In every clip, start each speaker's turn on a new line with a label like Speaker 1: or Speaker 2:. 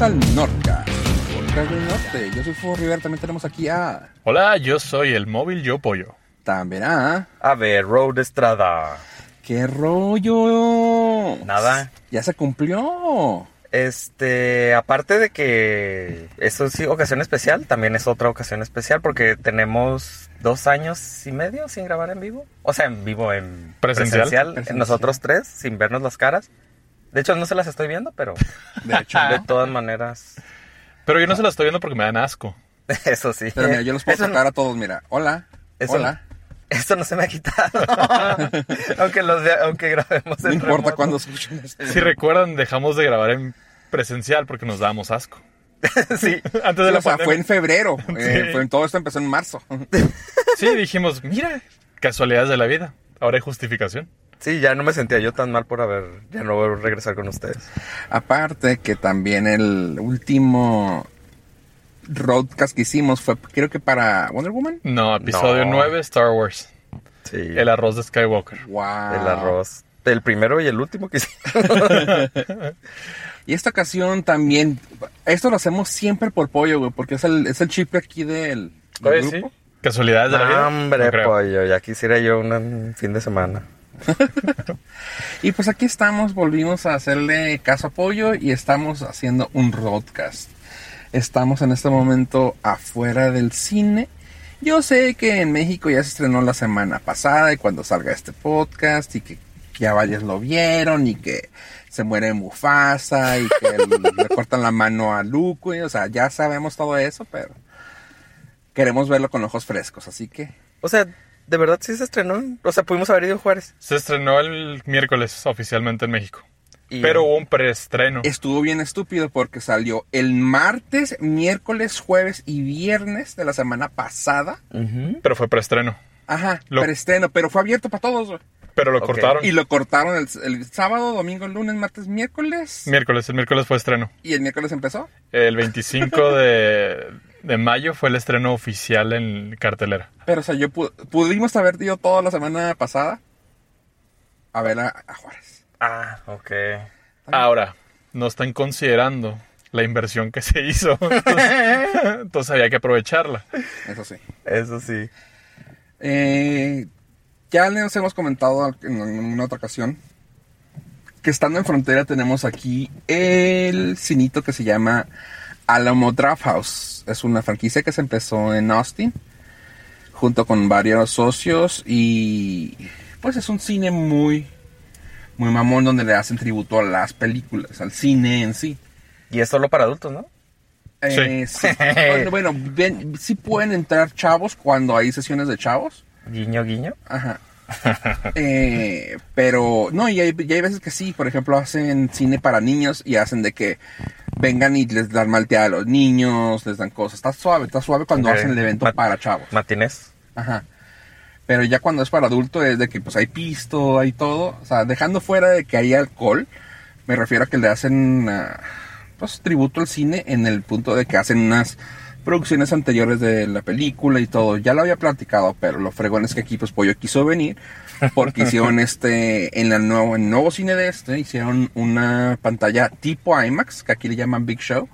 Speaker 1: al Norca. Podcast del Norte. Yo soy Fuego River. También tenemos aquí a.
Speaker 2: Hola, yo soy el móvil Yo Pollo.
Speaker 1: También a.
Speaker 3: A ver, Road Estrada.
Speaker 1: ¡Qué rollo!
Speaker 3: Nada.
Speaker 1: Ya se cumplió.
Speaker 3: Este, aparte de que eso sí, ocasión especial, también es otra ocasión especial porque tenemos dos años y medio sin grabar en vivo. O sea, en vivo, en
Speaker 2: Presencial.
Speaker 1: Presencial.
Speaker 3: en nosotros tres, sin vernos las caras. De hecho, no se las estoy viendo, pero
Speaker 1: De hecho,
Speaker 3: de
Speaker 1: ¿no?
Speaker 3: todas maneras,
Speaker 2: Pero yo no se la estoy viendo porque me dan asco.
Speaker 3: eso sí.
Speaker 1: Pero mira, yo los puedo
Speaker 3: Eso no-
Speaker 1: tocar a todos. Mira, hola.
Speaker 3: eso-
Speaker 1: hola.
Speaker 3: Eso no se me ha quitado. aunque, los vea- aunque grabemos
Speaker 1: No
Speaker 3: en
Speaker 1: importa
Speaker 3: remoto.
Speaker 1: cuándo escuchen esto.
Speaker 2: Si recuerdan, dejamos de grabar en presencial porque nos dábamos asco.
Speaker 3: sí,
Speaker 2: Antes
Speaker 1: O
Speaker 2: de la
Speaker 1: sea,
Speaker 2: pandemia.
Speaker 1: fue en febrero. Eh,
Speaker 2: Sí.
Speaker 1: fue en- todo esto empezó en marzo.
Speaker 2: Sí, dijimos, mira, casualidades de la vida. Ahora hay justificación.
Speaker 3: sí, ya no me sentía yo tan mal por haber, ya no voy a regresar con ustedes.
Speaker 1: Aparte que también el último roadcast que hicimos fue creo que para Wonder Woman.
Speaker 2: No, episodio
Speaker 3: No.
Speaker 2: 9, Star Wars.
Speaker 3: Sí.
Speaker 2: El arroz de Skywalker.
Speaker 1: Wow.
Speaker 3: El arroz. El primero y el último que hicimos.
Speaker 1: Y esta ocasión también, esto lo hacemos siempre por pollo, güey, porque es el, es el chip aquí del, del
Speaker 2: Oye, sí.
Speaker 1: grupo.
Speaker 2: Casualidades de la vida.
Speaker 3: Hombre,
Speaker 2: No creo.
Speaker 3: pollo, ya quisiera yo una- un fin de semana.
Speaker 1: Y pues aquí estamos, volvimos a hacerle caso a pollo y estamos haciendo un roadcast. Estamos en este momento afuera del cine. Yo sé que en México ya se estrenó la semana pasada y cuando salga este podcast y que ya vayas lo vieron y que se muere Mufasa y que le, le cortan la mano a Luke, y, o sea, ya sabemos todo eso, pero queremos verlo con ojos frescos, así que
Speaker 3: O sea, de verdad sí se estrenó. O sea, pudimos haber ido a Juárez.
Speaker 2: Se estrenó el miércoles oficialmente en México.
Speaker 3: Y-
Speaker 2: Pero hubo un preestreno.
Speaker 1: Estuvo bien estúpido porque salió el martes, miércoles, jueves y viernes de la semana pasada.
Speaker 3: Ujú.
Speaker 2: Pero fue preestreno.
Speaker 1: Ajá,
Speaker 2: Lo-
Speaker 1: preestreno, pero fue abierto para todos. güey.
Speaker 2: Pero lo
Speaker 3: Ok.
Speaker 2: cortaron.
Speaker 1: Y lo cortaron el, el sábado, domingo, lunes, martes, miércoles.
Speaker 2: Miércoles, el miércoles fue estreno.
Speaker 1: Y el miércoles empezó.
Speaker 2: El 25 de, de mayo fue el estreno oficial en cartelera.
Speaker 1: Pero, o sea, yo pu- pudimos haber ido toda la semana pasada a ver a, a Juárez.
Speaker 3: Ah, ok.
Speaker 2: Ahora, no están considerando la inversión que se hizo. Entonces, entonces había que aprovecharla.
Speaker 1: Eso sí.
Speaker 3: Eso sí.
Speaker 1: Eh, ya les hemos comentado en una otra ocasión que estando en frontera tenemos aquí el cinito que se llama Alamo Draft House. Es una franquicia que se empezó en Austin junto con varios socios y pues es un cine muy muy mamón donde le hacen tributo a las películas, al cine en sí.
Speaker 3: Y es solo para adultos, ¿no?
Speaker 1: Eh, sí. Bueno, bueno, ven- sí pueden entrar chavos cuando hay sesiones de chavos.
Speaker 3: Guiño, guiño.
Speaker 1: Ajá. Eh, pero no, y hay, y hay veces que sí, por ejemplo, hacen cine para niños y halen de que vengan y les dan malteada a los niños, les dan cosas. Está suave, está suave cuando
Speaker 3: Ok.
Speaker 1: hacen el evento
Speaker 3: Ma-
Speaker 1: para chavos.
Speaker 3: Matinés.
Speaker 1: Ajá. Pero ya cuando es para adulto es de que pues hay pisto, hay todo. O sea, dejando fuera de que hay alcohol, me refiero a que le hacen ah, pues tributo al cine en el punto de que hacen unas producciones anteriores de la película y todo. Ya lo había platicado, pero lo fregón es que aquí pues Pollo quiso venir porque hicieron este, en el nuevo, en el nuevo cine de este, hicieron una pantalla tipo IMAX, que aquí le llaman Big Show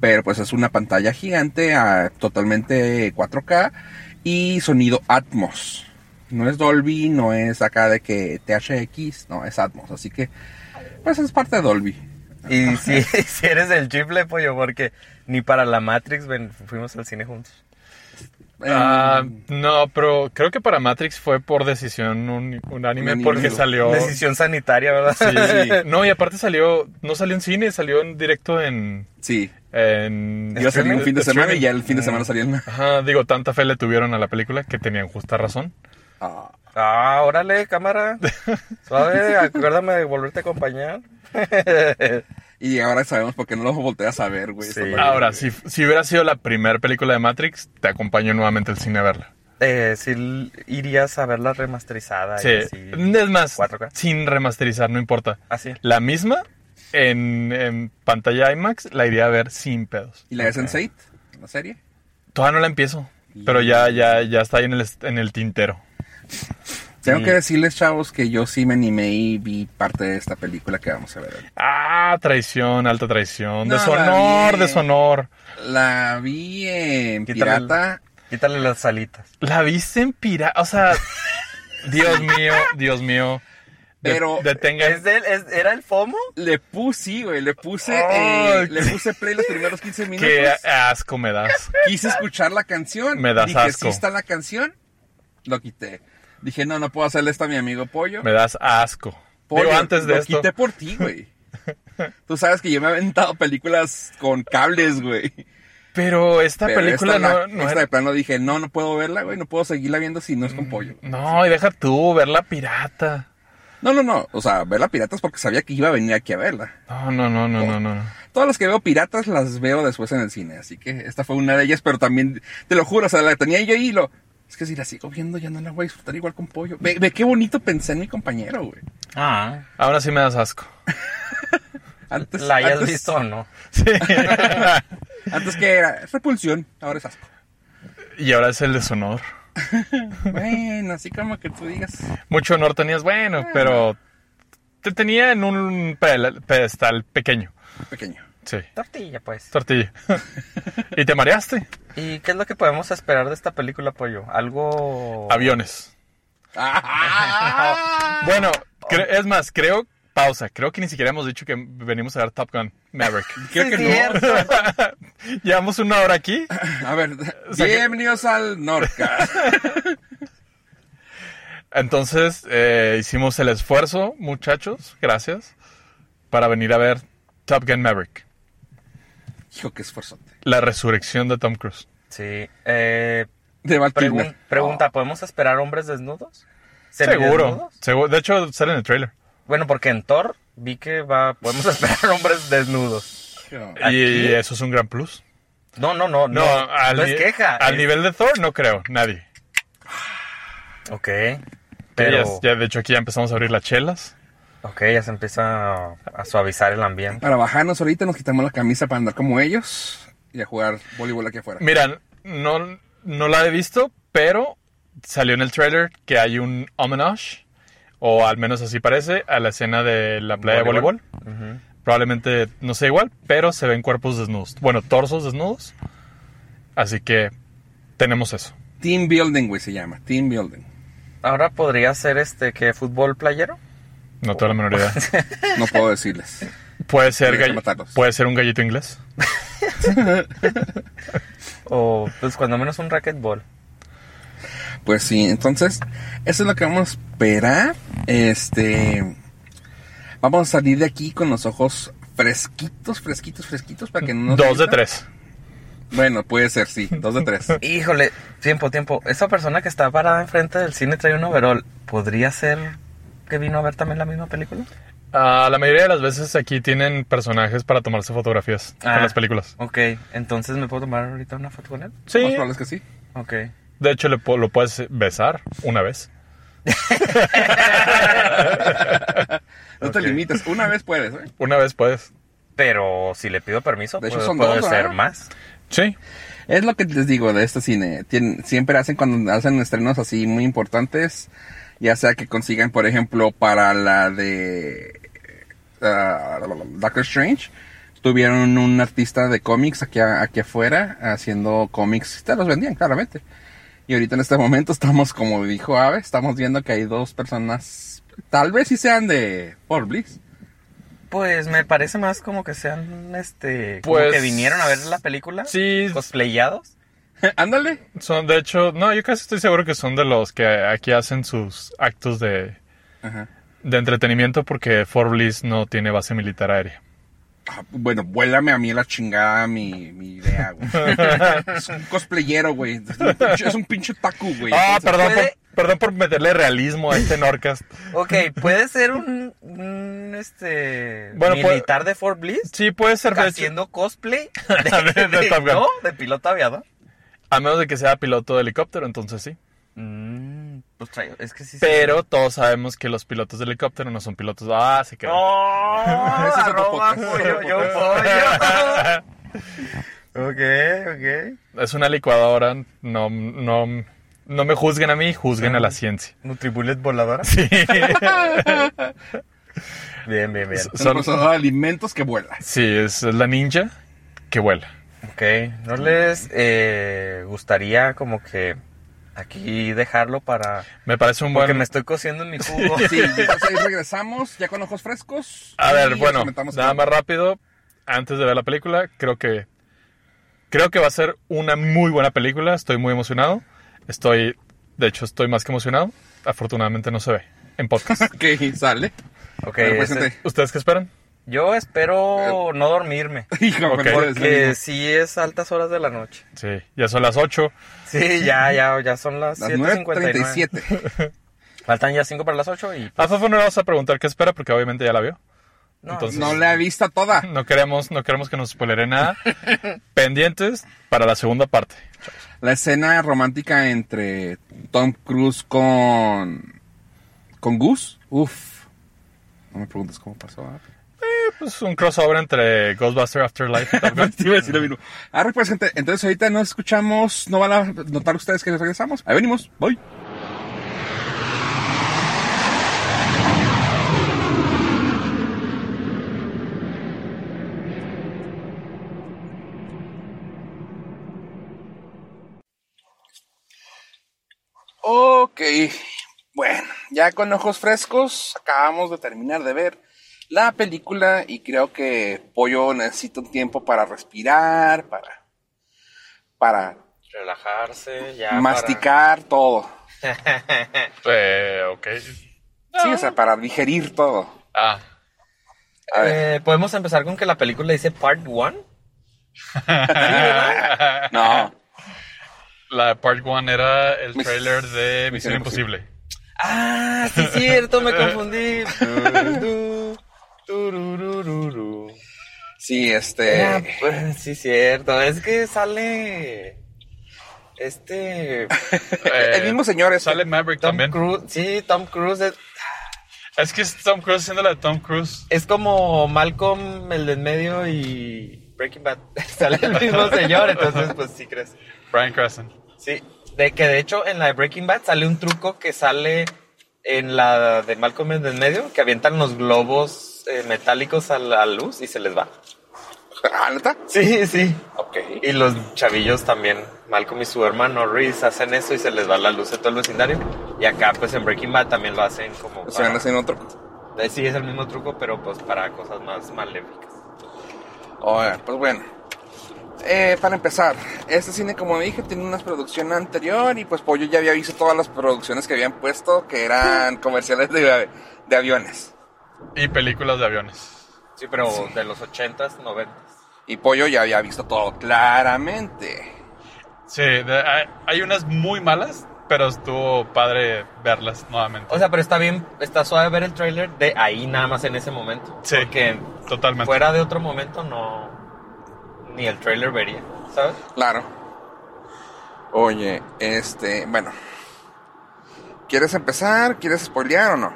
Speaker 1: pero pues es una pantalla gigante ah, totalmente 4K y sonido Atmos. No es Dolby, no es acá de que THX, no, es Atmos, así que pues es parte de Dolby. Em,
Speaker 3: Y si, si eres del chifle, pollo, porque ni para la Matrix ven- fuimos al cine juntos.
Speaker 1: Eh,
Speaker 2: Ah, no, pero creo que para Matrix fue por decisión un, unánime
Speaker 1: Unánime.
Speaker 2: porque salió.
Speaker 3: Decisión sanitaria, ¿verdad?
Speaker 2: Sí, No, y aparte salió, no salió en cine, salió en directo en.
Speaker 1: sí,
Speaker 2: en
Speaker 1: iba a salir un fin de semana y ya
Speaker 2: streaming.
Speaker 1: el fin de semana salió el...
Speaker 2: Ajá, digo, tanta fe le tuvieron a la película que tenían justa razón.
Speaker 1: Ah,
Speaker 3: Ah, órale, cámara. Suave, acuérdame de volverte a acompañar.
Speaker 1: y ahora sabemos por qué no lo volteas a ver, güey. esa
Speaker 3: Sí.
Speaker 1: madre,
Speaker 2: Ahora,
Speaker 1: güey.
Speaker 2: si, si hubiera sido la primera película de Matrix, te acompaño nuevamente al cine a verla.
Speaker 3: Eh, si l- irías a verla remasterizada.
Speaker 2: Sí.
Speaker 3: y así.
Speaker 2: Es más,
Speaker 3: 4K.
Speaker 2: sin remasterizar, no importa.
Speaker 3: Así.
Speaker 2: La misma en, en pantalla IMAX la iría a ver sin pedos.
Speaker 1: ¿Y la de Sense8? ¿La serie?
Speaker 2: Todavía no la empiezo, pero ya, ya, ya está ahí en el, est- en el tintero.
Speaker 1: Tengo
Speaker 3: Sí.
Speaker 1: que decirles, chavos, que yo sí me animé y vi parte de esta película que vamos a ver hoy.
Speaker 2: Ah, traición, alta traición.
Speaker 1: No,
Speaker 2: deshonor,
Speaker 1: David.
Speaker 2: deshonor.
Speaker 1: La vi en
Speaker 3: Quítale el-
Speaker 1: Pirata.
Speaker 3: Quítale las alitas.
Speaker 2: La viste en pirata. O sea, Dios mío, Dios mío. De-
Speaker 1: Pero-
Speaker 2: detenga.
Speaker 3: ¿Es del- es- ¿Era el FOMO?
Speaker 1: Le puse, sí, güey, le puse,
Speaker 2: Ay,
Speaker 1: eh, le puse play los primeros 15 minutos.
Speaker 2: Qué asco me das.
Speaker 1: Quise escuchar la canción.
Speaker 2: Me das
Speaker 1: Dije,
Speaker 2: asco.
Speaker 1: sí está la canción. Lo quité. Dije, no, no puedo hacerle esto a mi amigo Pollo.
Speaker 2: Me das asco.
Speaker 1: Pollo,
Speaker 2: Digo, antes de
Speaker 1: lo
Speaker 2: esto.
Speaker 1: quité por ti, güey. Tú sabes que yo me he aventado películas con cables, güey.
Speaker 2: Pero esta
Speaker 1: Pero
Speaker 2: película
Speaker 1: esta
Speaker 2: no,
Speaker 1: la-
Speaker 2: no
Speaker 1: esta
Speaker 2: era-
Speaker 1: de plano dije, no, no puedo verla, güey. No puedo seguirla viendo si no es con
Speaker 2: Mm.
Speaker 1: Pollo.
Speaker 2: No, y deja tú, verla pirata.
Speaker 1: No, no, no. O sea, verla piratas porque sabía que iba a venir aquí a verla.
Speaker 2: No, no, no, no, no, no.
Speaker 1: Todas las que veo piratas las veo después en el cine, así que esta fue una de ellas, pero también, te lo juro, o sea, la tenía yo y lo... Es que si la sigo viendo ya no la voy a disfrutar igual con pollo. Ve, ve qué bonito pensé en mi compañero, güey.
Speaker 3: Ah.
Speaker 2: Ahora sí me das asco.
Speaker 1: Antes,
Speaker 2: Ah,
Speaker 3: ¿La hayas
Speaker 1: antes-
Speaker 2: pues,
Speaker 3: visto o no?
Speaker 2: Sí.
Speaker 1: Antes que era repulsión, ahora es asco.
Speaker 2: y ahora es el deshonor.
Speaker 1: Bueno, así como que tú digas.
Speaker 2: Mucho honor tenías, bueno, pero te tenía en un pel- pedestal pequeño.
Speaker 1: Pequeño.
Speaker 2: Sí,
Speaker 3: Tortilla, pues.
Speaker 2: tortilla. y te mareaste.
Speaker 3: ¿Y qué es lo que podemos esperar de esta película, Pollo? Algo...
Speaker 2: Aviones.
Speaker 1: ¡Ah!
Speaker 2: Bueno, cre- es más, creo, pausa, creo que ni siquiera hemos dicho que venimos a ver Top Gun Maverick.
Speaker 1: creo
Speaker 3: Sí,
Speaker 1: que
Speaker 3: cierto.
Speaker 2: Llevamos una hora aquí.
Speaker 1: no. A ver,
Speaker 2: sea que-
Speaker 1: bienvenidos al Norca.
Speaker 2: Entonces, eh, hicimos el esfuerzo, muchachos, gracias, para venir a ver Top Gun Maverick.
Speaker 1: Hijo, qué esforzote.
Speaker 2: La resurrección de Tom Cruise.
Speaker 3: Sí. Eh,
Speaker 1: De Val
Speaker 3: pregun-
Speaker 1: Kilmer.
Speaker 3: pregunta, ¿podemos esperar hombres desnudos?
Speaker 2: Seguro.
Speaker 3: ¿Semidesnudos?
Speaker 2: seguro. De hecho, sale en el trailer.
Speaker 3: Bueno, porque en Thor vi que va... Podemos esperar hombres desnudos.
Speaker 1: Hijo.
Speaker 2: Y,
Speaker 3: Aquí-
Speaker 2: eso es un gran plus.
Speaker 3: No, no, no. No,
Speaker 2: No,
Speaker 3: no,
Speaker 2: al,
Speaker 3: es
Speaker 2: ni-
Speaker 3: queja. eh.
Speaker 2: al
Speaker 3: es-
Speaker 2: nivel de Thor no creo, nadie.
Speaker 3: Ok.
Speaker 2: Pero...
Speaker 3: Pero...
Speaker 2: Ya, de hecho, aquí ya empezamos a abrir las chelas.
Speaker 3: Ok, ya se empieza a, a suavizar el ambiente.
Speaker 1: Para bajarnos ahorita nos quitamos la camisa para andar como ellos y a jugar voleibol aquí afuera.
Speaker 2: Mira, no, no la he visto, pero salió en el trailer que hay un homenaje, o al menos así parece, a la escena de la playa
Speaker 3: Voleibol.
Speaker 2: de voleibol. Probablemente no sea igual, pero se ven cuerpos desnudos. Bueno, torsos desnudos. Así que tenemos eso.
Speaker 1: Team Building, güey, se llama. Team Building.
Speaker 3: Ahora podría ser este que fútbol playero.
Speaker 2: No tengo la menor idea.
Speaker 1: No puedo decirles.
Speaker 2: Puede ser,
Speaker 1: Tienes que
Speaker 2: gall-
Speaker 1: matarlos.
Speaker 2: puede ser un gallito inglés.
Speaker 3: O pues cuando menos un racquetball.
Speaker 1: Pues sí, entonces, eso es lo que vamos a esperar. Este. Vamos a salir de aquí con los ojos fresquitos, fresquitos, fresquitos para que no nos.
Speaker 2: Dos de
Speaker 1: metan.
Speaker 2: tres.
Speaker 1: Bueno, puede ser, sí. Dos de tres.
Speaker 3: Híjole, tiempo, tiempo. Esa persona que está parada enfrente del cine trae un overall. ¿Podría ser que vino a ver también la misma película?
Speaker 2: Ah, la mayoría de las veces aquí tienen personajes para tomarse fotografías
Speaker 3: Ah.
Speaker 2: en las películas.
Speaker 3: Ok, entonces me puedo tomar ahorita una foto con él.
Speaker 1: Más
Speaker 2: Sí,
Speaker 1: probable es que sí.
Speaker 3: Ok.
Speaker 2: de hecho le pu- lo puedes besar una vez.
Speaker 1: No
Speaker 3: Ok.
Speaker 1: te limites. Una vez puedes, ¿eh?
Speaker 2: Una vez puedes.
Speaker 3: Pero si le pido permiso,
Speaker 1: De hecho,
Speaker 3: puedo,
Speaker 1: son
Speaker 3: puedo
Speaker 1: dos,
Speaker 3: ser
Speaker 1: ¿verdad?
Speaker 3: más.
Speaker 2: Sí.
Speaker 1: Es lo que les digo de este cine. Tien- siempre hacen cuando hacen estrenos así muy importantes, ya sea que consigan, por ejemplo, para la de ah, Doctor Strange, tuvieron un artista de cómics aquí, a- aquí afuera haciendo cómics. Te los vendían, claramente. Y ahorita en este momento estamos, como dijo Ave, estamos viendo que hay dos personas, tal vez sí sean de Paul Bliss.
Speaker 3: Pues me parece más como que sean, este, como
Speaker 2: Pues-
Speaker 3: que vinieron a ver la película.
Speaker 2: Sí.
Speaker 3: Cosplayados.
Speaker 1: Ándale.
Speaker 2: Son, de hecho, no, yo casi estoy seguro que son de los que aquí hacen sus actos de,
Speaker 1: Ajá.
Speaker 2: de entretenimiento porque Fort Bliss no tiene base militar aérea.
Speaker 1: Ah, Bueno, vuélame a mí la chingada mi, mi idea, güey. es un cosplayero, güey. Es un pinche- es un pinche taku, güey.
Speaker 2: Ah,
Speaker 1: Entonces,
Speaker 2: perdón
Speaker 3: puede-
Speaker 2: por, perdón por meterle realismo a este Norcast.
Speaker 3: Ok, puede ser un, un, este,
Speaker 2: Bueno, puede-
Speaker 3: militar de Fort Bliss.
Speaker 2: Sí, puede ser. de hecho.
Speaker 3: haciendo cosplay
Speaker 2: De-
Speaker 3: de,
Speaker 2: de
Speaker 3: de-
Speaker 2: Top Gun.
Speaker 3: ¿no? de piloto aviador.
Speaker 2: A menos de que sea piloto de helicóptero, entonces sí.
Speaker 3: Mm, pues trae- es que sí. se-
Speaker 2: Pero todos sabemos que los pilotos de helicóptero no son pilotos. Ah, se quedó.
Speaker 3: ¡Oh!
Speaker 1: Ese es otro
Speaker 3: arroba
Speaker 1: podcast.
Speaker 3: pollo, yo pollo. ok, ok.
Speaker 2: Es una licuadora, no, no, No me juzguen a mí, juzguen a la ciencia.
Speaker 3: Nutribullet voladora.
Speaker 2: Sí.
Speaker 3: Bien, bien, bien.
Speaker 1: Son
Speaker 2: Son-
Speaker 1: procesador de alimentos que vuela.
Speaker 2: sí, es la ninja que vuela.
Speaker 3: Ok, ¿no les eh, gustaría como que aquí dejarlo para...
Speaker 2: Me parece un
Speaker 3: Porque
Speaker 2: buen...
Speaker 3: me estoy cociendo en mi jugo.
Speaker 1: Sí, entonces ahí regresamos, ya con ojos frescos.
Speaker 2: A
Speaker 1: y
Speaker 2: ver,
Speaker 1: nos
Speaker 2: bueno,
Speaker 1: comentamos
Speaker 2: nada
Speaker 1: qué-
Speaker 2: más rápido, antes de ver la película, creo que creo que va a ser una muy buena película, estoy muy emocionado. Estoy, de hecho, estoy más que emocionado. Afortunadamente no se ve en podcast.
Speaker 1: Ok, sale. pues,
Speaker 3: Ok,
Speaker 1: A ver,
Speaker 3: ese-
Speaker 1: preséntate.
Speaker 2: ¿Ustedes qué esperan?
Speaker 3: yo espero no dormirme.
Speaker 1: Hijo,
Speaker 2: Ok.
Speaker 1: mejor
Speaker 3: Porque
Speaker 1: es-
Speaker 3: sí es altas horas de la noche.
Speaker 2: Sí, ya son las 8.
Speaker 3: Sí, ya, ya, ya son las,
Speaker 1: las
Speaker 3: 7.57.
Speaker 1: 9.37.
Speaker 3: Faltan ya 5 para las 8 y...
Speaker 2: A Fafo no le vamos a preguntar qué espera porque obviamente ya la vio.
Speaker 3: No,
Speaker 2: Entonces-
Speaker 1: No la he visto toda.
Speaker 2: No queremos, no queremos que nos spoilere nada. Pendientes para la segunda parte.
Speaker 1: La escena romántica entre Tom Cruise con. con Goose. Uf. No me preguntes cómo pasó. ¿ah?
Speaker 2: Eh, Pues un crossover entre Ghostbuster Afterlife. y Top Gun.
Speaker 1: Te iba a decir lo mismo. Arre, pues, gente, entonces ahorita no escuchamos, no van a notar ustedes que regresamos. Ahí venimos, voy. Ok, bueno, ya con ojos frescos acabamos de terminar de ver la película y creo que Pollo necesita un tiempo para respirar, para, para
Speaker 3: Relajarse, ya
Speaker 1: masticar todo.
Speaker 2: Eh, ok.
Speaker 1: Sí, o sea, para digerir todo.
Speaker 2: Ah,
Speaker 1: A ver.
Speaker 3: Eh, ¿Podemos empezar con que la película dice Part 1?
Speaker 2: Eh.
Speaker 1: No,
Speaker 2: La Part 1 era el
Speaker 1: Mis-
Speaker 2: trailer de Misión
Speaker 1: Imposible.
Speaker 2: Imposible.
Speaker 3: Ah, sí es cierto, me confundí.
Speaker 2: Tururú, tururururú.
Speaker 1: sí,
Speaker 3: Ah,
Speaker 1: este...
Speaker 3: pues, sí es cierto, es que sale este
Speaker 2: Eh,
Speaker 1: el mismo señor es...
Speaker 2: Sale Maverick
Speaker 3: Tom
Speaker 2: también.
Speaker 3: Cruise, sí, Tom Cruise es,
Speaker 2: Es que es Tom Cruise haciendo la de Tom Cruise.
Speaker 3: es como Malcolm el de en medio y Breaking Bad, sale el mismo señor, entonces pues sí crees.
Speaker 2: Brian Crescent.
Speaker 3: Sí, de que de hecho en la de Breaking Bad sale un truco que sale en la de Malcolm en el medio, que avientan los globos eh, metálicos a la luz y se les va.
Speaker 1: Ah, ¿neta?
Speaker 3: Sí, sí.
Speaker 1: Ok.
Speaker 3: Y los chavillos también, Malcolm y su hermano Reese hacen eso y se les va la luz en todo el vecindario. Y acá pues en Breaking Bad también lo hacen como...
Speaker 1: O sea,
Speaker 3: para-
Speaker 1: no hacen otro.
Speaker 3: Eh, Sí, es el mismo truco, pero pues para cosas más maléficas.
Speaker 1: Oiga, pues bueno. Eh, para empezar, este cine, como dije, tiene una producción anterior y pues Pollo ya había visto todas las producciones que habían puesto que eran comerciales de, de aviones.
Speaker 2: Y películas de aviones.
Speaker 3: Sí, pero de los 80s, 90s.
Speaker 1: Y Pollo ya había visto todo claramente.
Speaker 2: Sí, de- hay, hay unas muy malas, pero estuvo padre verlas nuevamente.
Speaker 3: O sea, pero está bien, está suave ver el tráiler de ahí nada más en ese momento.
Speaker 2: Sí.
Speaker 3: Porque
Speaker 2: Totalmente.
Speaker 3: fuera de otro momento no... Ni el tráiler vería, ¿sabes?
Speaker 1: Claro. Oye, este, bueno. ¿Quieres empezar? ¿Quieres spoilear o no?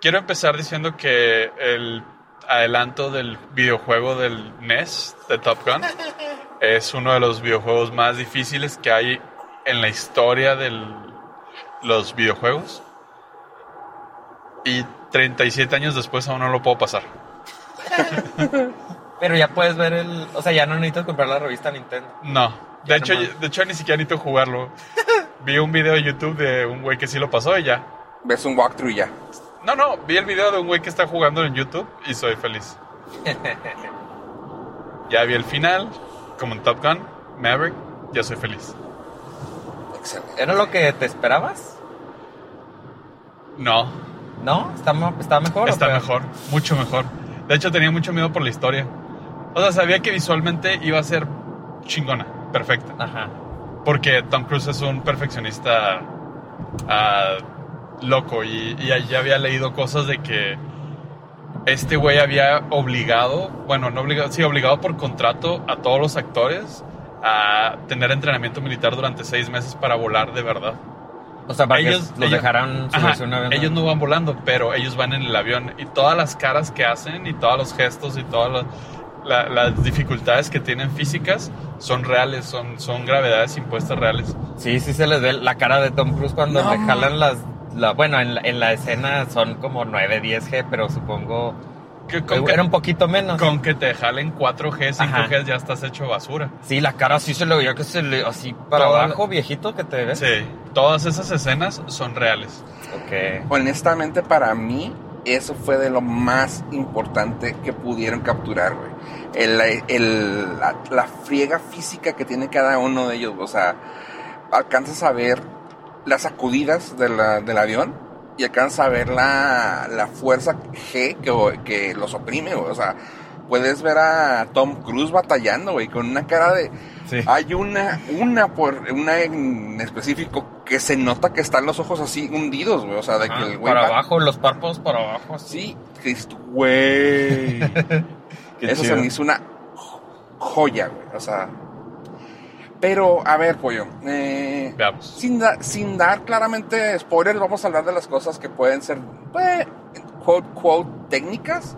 Speaker 2: Quiero empezar diciendo que el adelanto del videojuego del NES de Top Gun es uno de los videojuegos más difíciles que hay en la historia de los videojuegos. Y 37 años después aún no lo puedo pasar.
Speaker 3: Pero ya puedes ver el... O sea, ya no necesitas comprar la revista Nintendo.
Speaker 2: No.
Speaker 3: Ya
Speaker 2: De hecho,
Speaker 3: nomás.
Speaker 2: de hecho ni siquiera necesito jugarlo. Vi un video de YouTube de un güey que sí lo pasó y ya.
Speaker 1: Ves un walkthrough y ya.
Speaker 2: No, no, vi el video de un güey que está jugando en YouTube y soy feliz. Ya vi el final, como en Top Gun, Maverick, ya soy feliz.
Speaker 1: Excelente.
Speaker 3: ¿Era lo que te esperabas?
Speaker 2: No,
Speaker 3: ¿No? ¿Está, mo- está mejor? o
Speaker 2: está
Speaker 3: peor?
Speaker 2: mejor, mucho mejor. De hecho, tenía mucho miedo por la historia. O sea, sabía que visualmente iba a ser chingona, perfecta.
Speaker 3: Ajá.
Speaker 2: Porque Tom Cruise es un perfeccionista ah, loco y, y ya había leído cosas de que este güey había obligado, bueno, no obligado, sí, obligado por contrato a todos los actores a tener entrenamiento militar durante seis meses para volar de verdad.
Speaker 3: O sea, para
Speaker 2: Ellos-
Speaker 3: que los
Speaker 2: ellos-
Speaker 3: dejaran
Speaker 2: Ajá,
Speaker 3: subirse un avión.
Speaker 2: ellos no van volando, pero ellos van en el avión y todas las caras que hacen y todos los gestos y todas las- las, la- las dificultades que tienen físicas son reales, son, son gravedades impuestas reales.
Speaker 3: Sí, sí se les ve la cara de Tom Cruise cuando
Speaker 1: No,
Speaker 3: le
Speaker 1: ma-
Speaker 3: jalan las... la- bueno, en la, en la escena son como 9, 10 G, pero supongo...
Speaker 2: Que con,
Speaker 3: era
Speaker 2: que,
Speaker 3: un poquito menos.
Speaker 2: con que te jalen 4G, 5G
Speaker 3: Ajá.
Speaker 2: ya estás hecho basura.
Speaker 3: Sí, la cara sí se le veía que se le... Así para
Speaker 2: Toda la-
Speaker 3: abajo, viejito que te ves.
Speaker 2: Sí, todas esas escenas son reales.
Speaker 1: Ah,
Speaker 3: Ok.
Speaker 1: Honestamente, para mí, eso fue de lo más importante que pudieron capturar, güey. El- el- la, la friega física que tiene cada uno de ellos. O sea, alcanzas a ver las sacudidas de la- del avión y alcanzas a ver la, la fuerza G que, que los oprime, güey. O sea, puedes ver a Tom Cruise batallando, güey, con una cara de...
Speaker 3: Sí.
Speaker 1: Hay una, una por, una en específico que se nota que están los ojos así hundidos, güey. O sea, de
Speaker 3: Ah,
Speaker 1: que el güey.
Speaker 3: para
Speaker 1: va-
Speaker 3: abajo, los párpados para abajo. así.
Speaker 1: Sí, que dices tú, güey.
Speaker 3: Qué
Speaker 1: Eso se
Speaker 3: chido.
Speaker 1: me hizo una jo- joya, güey. O sea. Pero, a ver, pollo. eh,
Speaker 2: Veamos.
Speaker 1: sin, da- sin dar claramente spoilers, vamos a hablar de las cosas que pueden ser, pues, quote, quote, técnicas.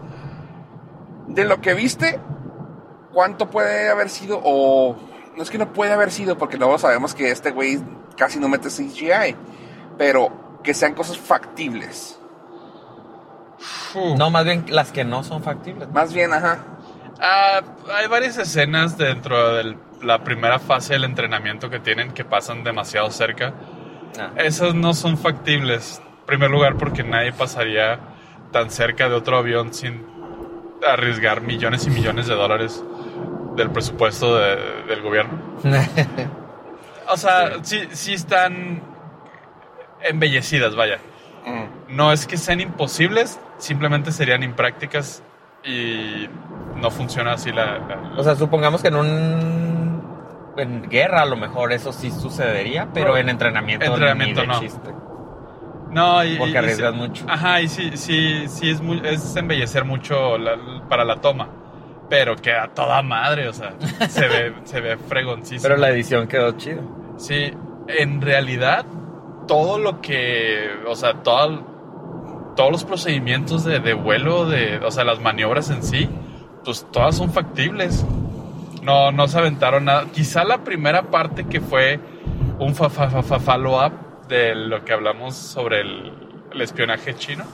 Speaker 1: De lo que viste, ¿cuánto puede haber sido? O no es que no puede haber sido, porque luego sabemos que este güey casi no mete CGI, pero que sean cosas factibles.
Speaker 2: Fu.
Speaker 3: No, más bien las que no son factibles.
Speaker 1: Más bien, ajá.
Speaker 2: Ah, hay varias escenas dentro de la primera fase del entrenamiento que tienen que pasan demasiado cerca.
Speaker 3: Ah.
Speaker 2: Esas no son factibles. En primer lugar, porque nadie pasaría tan cerca de otro avión sin arriesgar millones y millones de dólares del presupuesto de- del gobierno. O sea, sí, sí están embellecidas, vaya.
Speaker 1: Mm.
Speaker 2: No es que sean imposibles, simplemente serían imprácticas y no funciona así la- la,
Speaker 3: o sea, supongamos que en un... En guerra a lo mejor eso sí sucedería, pero en entrenamiento,
Speaker 2: Entrenamiento
Speaker 3: ni de
Speaker 2: no.
Speaker 3: chiste.
Speaker 2: No, y,
Speaker 3: Porque
Speaker 2: y- y
Speaker 3: arriesgas
Speaker 2: sí-
Speaker 3: mucho.
Speaker 2: Ajá, y sí, sí, sí es, muy- es embellecer mucho la- para la toma. Pero queda toda madre, o sea, se ve, se ve fregoncísimo.
Speaker 3: Pero la edición quedó chido.
Speaker 2: Sí, en realidad, todo lo que, o sea, todo- todos los procedimientos de, de vuelo, de, o sea, las maniobras en sí, pues todas son factibles. No, no se aventaron nada. Quizá la primera parte que fue un fa- fa- fa- fa- follow-up de lo que hablamos sobre el, el espionaje chino.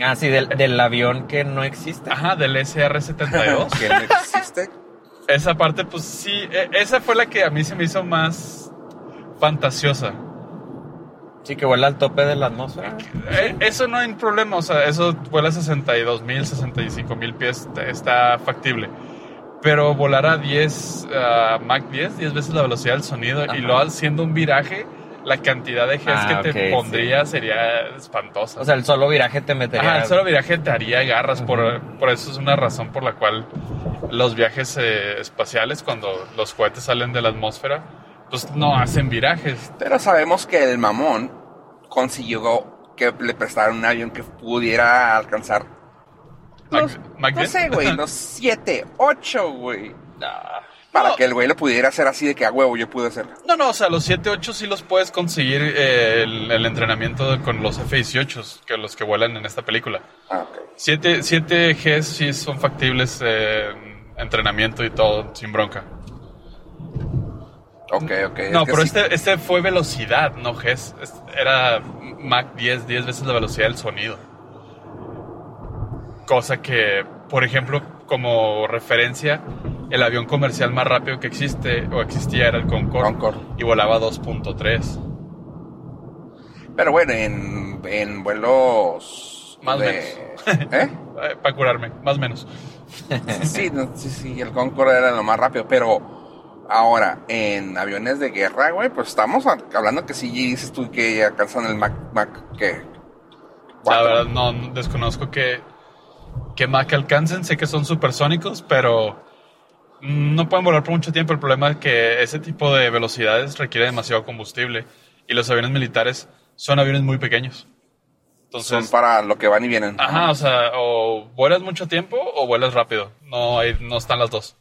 Speaker 3: Ah, sí, del, del avión que no existe.
Speaker 2: Ajá, del SR-72.
Speaker 1: Que no existe.
Speaker 2: Esa parte, pues sí, e- esa fue la que a mí se me hizo más fantasiosa.
Speaker 3: Sí, que vuela al tope de la atmósfera.
Speaker 2: Eh, Eso no hay problema, o sea, eso vuela a 62 mil, 65 mil pies, t- está factible. Pero volar a 10, a Mach 10, 10 veces la velocidad del sonido
Speaker 3: Ajá.
Speaker 2: y luego haciendo un viraje, la cantidad de Gs
Speaker 3: Ah,
Speaker 2: que
Speaker 3: ok,
Speaker 2: te pondría sería espantosa.
Speaker 3: O sea, el solo viraje te metería.
Speaker 2: Ajá, el solo viraje te haría garras, por,
Speaker 3: Ujú.
Speaker 2: por eso es una razón por la cual los viajes eh, espaciales, cuando los cohetes salen de la atmósfera, pues no hacen virajes.
Speaker 1: Pero sabemos que el mamón consiguió que le prestaran un avión que pudiera alcanzar.
Speaker 2: Mac-
Speaker 1: los-
Speaker 2: Mac
Speaker 1: no
Speaker 2: 10.
Speaker 1: sé, güey, los 7, 8, güey.
Speaker 3: Ah,
Speaker 1: Para
Speaker 2: No.
Speaker 1: que el güey lo pudiera hacer así de que a huevo yo pude hacerlo.
Speaker 2: No, no, o sea, los 7-8 sí los puedes conseguir eh, el, el entrenamiento de- con los F-18, que los que vuelan en esta película.
Speaker 1: Ah, ok.
Speaker 2: 7, 7G sí son factibles eh, en entrenamiento y todo, sin bronca.
Speaker 1: Ok, ok. es
Speaker 2: no,
Speaker 1: que
Speaker 2: pero
Speaker 1: sí.
Speaker 2: este, este fue velocidad, no G. es- es- Era Mach 10, 10 veces la velocidad del sonido. Cosa que, por ejemplo, como referencia, el avión comercial más rápido que existe o existía era el Concorde,
Speaker 1: Concorde.
Speaker 2: y volaba 2.3.
Speaker 1: Pero bueno, en, en vuelos.
Speaker 2: Más
Speaker 1: ¿Eh?
Speaker 2: para curarme, más o menos.
Speaker 1: Sí, no, sí, sí, el Concorde era lo más rápido, pero ahora, en aviones de guerra, güey, pues estamos a- hablando que sí dices tú que alcanzan el Mac, Mac ¿qué?
Speaker 2: La
Speaker 1: Cuatro.
Speaker 2: verdad, no, no- desconozco que, que Mac alcancen. Sé que son supersónicos, pero mm, no pueden volar por mucho tiempo. El problema es que ese tipo de velocidades requiere demasiado combustible y los aviones militares son aviones muy pequeños.
Speaker 1: Son
Speaker 2: Entonces,
Speaker 1: para lo que van y vienen.
Speaker 2: ajá, o sea, o vuelas mucho tiempo o vuelas rápido. No, hay- no están las dos.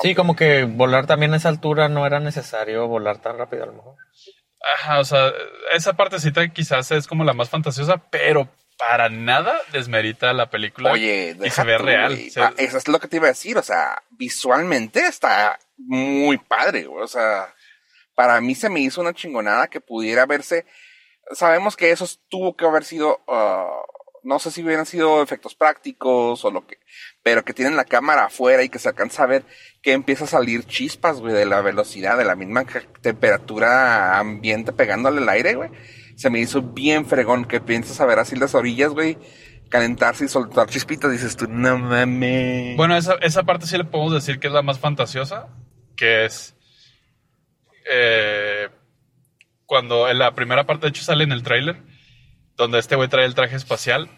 Speaker 3: Sí, como que volar también a esa altura no era necesario volar tan rápido a lo mejor.
Speaker 2: Ajá, o sea, esa partecita quizás es como la más fantasiosa, pero para nada desmerita la película
Speaker 1: Oye,
Speaker 2: y
Speaker 1: deja
Speaker 2: se ve
Speaker 1: tú,
Speaker 2: real.
Speaker 1: güey.
Speaker 2: Se-
Speaker 1: Ah, eso es lo que te iba a decir, o sea, visualmente está muy padre, güey, o sea, para mí se me hizo una chingonada que pudiera verse. Sabemos que eso tuvo que haber sido, ah, no sé si hubieran sido efectos prácticos o lo que, pero que tienen la cámara afuera y que se alcanza a ver que empieza a salir chispas, güey, de la velocidad, de la misma ca- temperatura ambiente pegándole el aire, güey. Se me hizo bien fregón que piensas a ver así las orillas, güey, calentarse y soltar chispitas. Dices tú, no mames.
Speaker 2: Bueno, esa, esa parte sí le podemos decir que es la más fantasiosa, que es eh, cuando en la primera parte, de hecho, sale en el tráiler, donde este güey trae el traje espacial.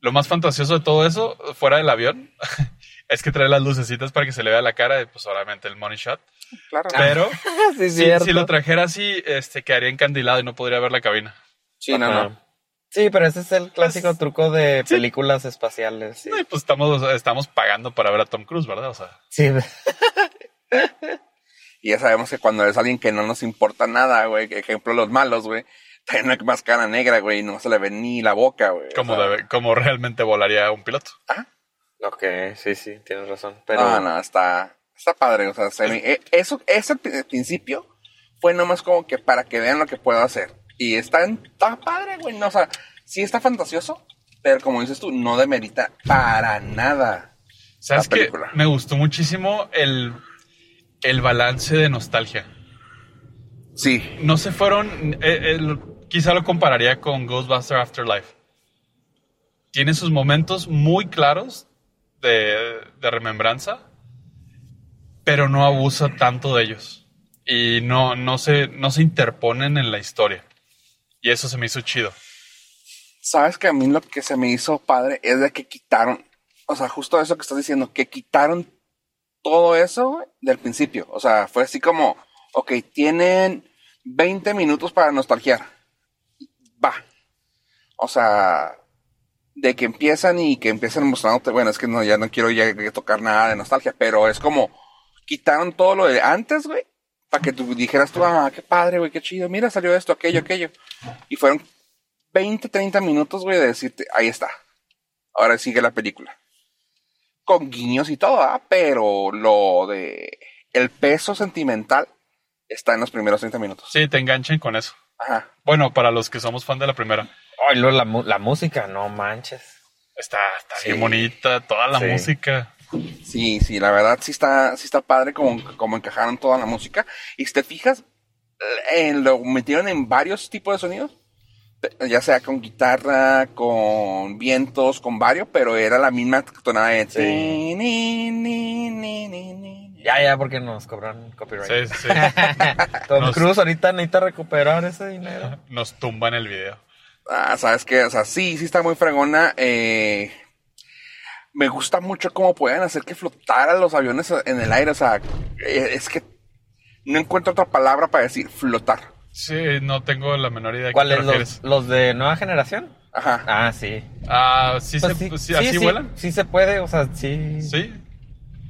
Speaker 2: Lo más fantasioso de todo eso, fuera del avión, es que trae las lucecitas para que se le vea la cara y pues obviamente el money shot.
Speaker 1: claro.
Speaker 2: Pero
Speaker 3: sí, Ah, es
Speaker 2: si,
Speaker 3: cierto.
Speaker 2: si lo trajera así, este, quedaría encandilado y no podría ver la cabina.
Speaker 1: sí, no, no.
Speaker 3: Sí, pero ese es el clásico
Speaker 2: Pues-
Speaker 3: truco de películas espaciales. Sí,
Speaker 2: No, y pues estamos, estamos pagando para ver a Tom Cruise, ¿verdad? O sea,
Speaker 3: Sí,
Speaker 1: Y ya sabemos que cuando es alguien que no nos importa nada, güey, que ejemplo los malos, güey, tienen una máscara negra, güey, y no se le ve ni la boca, güey.
Speaker 2: como,
Speaker 1: O sea,
Speaker 2: debe- como realmente volaría un piloto.
Speaker 3: ok, sí, sí, tienes razón. Pero
Speaker 1: No, Ah, no, está, está padre. O sea, se me- eh, eso, ese pri- principio fue nomás como que para que vean lo que puedo hacer. Y está, en- está padre, güey. No, o sea, sí está fantasioso, pero como dices tú, no demerita para nada.
Speaker 2: ¿Sabes
Speaker 1: la
Speaker 2: qué?
Speaker 1: película.
Speaker 2: Me gustó muchísimo el, el balance de nostalgia.
Speaker 1: Sí,
Speaker 2: No se fueron. eh, el- quizá lo compararía con Ghostbuster Afterlife. Tiene sus momentos muy claros de, de remembranza, pero no abusa tanto de ellos. Y no, no, se, no se interponen en la historia. Y eso se me hizo chido.
Speaker 1: sabes que a mí lo que se me hizo padre es de que quitaron, o sea, justo eso que estás diciendo, que quitaron todo eso güey, del principio. O sea, fue así como, ok, tienen 20 minutos para nostalgiar. Va. O sea, de que empiezan y que empiezan mostrándote, bueno, es que no, ya no quiero ya tocar nada de nostalgia, pero es como, quitaron todo lo de antes, güey, para que tú dijeras tú, ah, qué padre, güey, qué chido, mira, salió esto, aquello, aquello. Y fueron 20, 30 minutos, güey, de decirte, ahí está. Ahora sigue la película con guiños y todo, ¿ah? pero lo de el peso sentimental está en los primeros 30 minutos.
Speaker 2: Sí, te enganchan con eso.
Speaker 1: Ajá.
Speaker 2: Bueno, para los que somos fan de la primera,
Speaker 3: Ay, luego la, mu- la música, no manches.
Speaker 2: está, está
Speaker 1: Sí.
Speaker 2: bien bonita toda la
Speaker 3: Sí.
Speaker 2: música.
Speaker 1: Sí, sí, la verdad sí está, sí está padre como, como encajaron toda la música. Y si te fijas, eh, lo metieron en varios tipos de sonidos, eh, ya sea con guitarra, con vientos, con varios, pero era la misma tonada de...
Speaker 3: Sí. Ya, ya, porque nos cobran copyright.
Speaker 2: Sí, sí.
Speaker 3: Tom
Speaker 2: Nos-
Speaker 3: Cruise ahorita necesita recuperar ese dinero.
Speaker 2: Nos tumban el video.
Speaker 1: Ah, sabes que, o sea, sí, sí está muy fregona. eh, me gusta mucho cómo pueden hacer que flotaran los aviones en el aire. O sea, eh, es que no encuentro otra palabra para decir flotar.
Speaker 2: Sí, no tengo la menor idea de qué te
Speaker 3: ¿Cuáles?
Speaker 2: refieres.
Speaker 3: Los, ¿Los de nueva generación?
Speaker 1: Ajá.
Speaker 3: Ah, sí.
Speaker 2: Ah, ¿sí
Speaker 3: Pues
Speaker 2: se-
Speaker 3: sí,
Speaker 2: sí,
Speaker 3: sí,
Speaker 2: ¿Así
Speaker 3: sí,
Speaker 2: vuelan?
Speaker 3: Sí se puede, o sea, sí.
Speaker 2: Sí.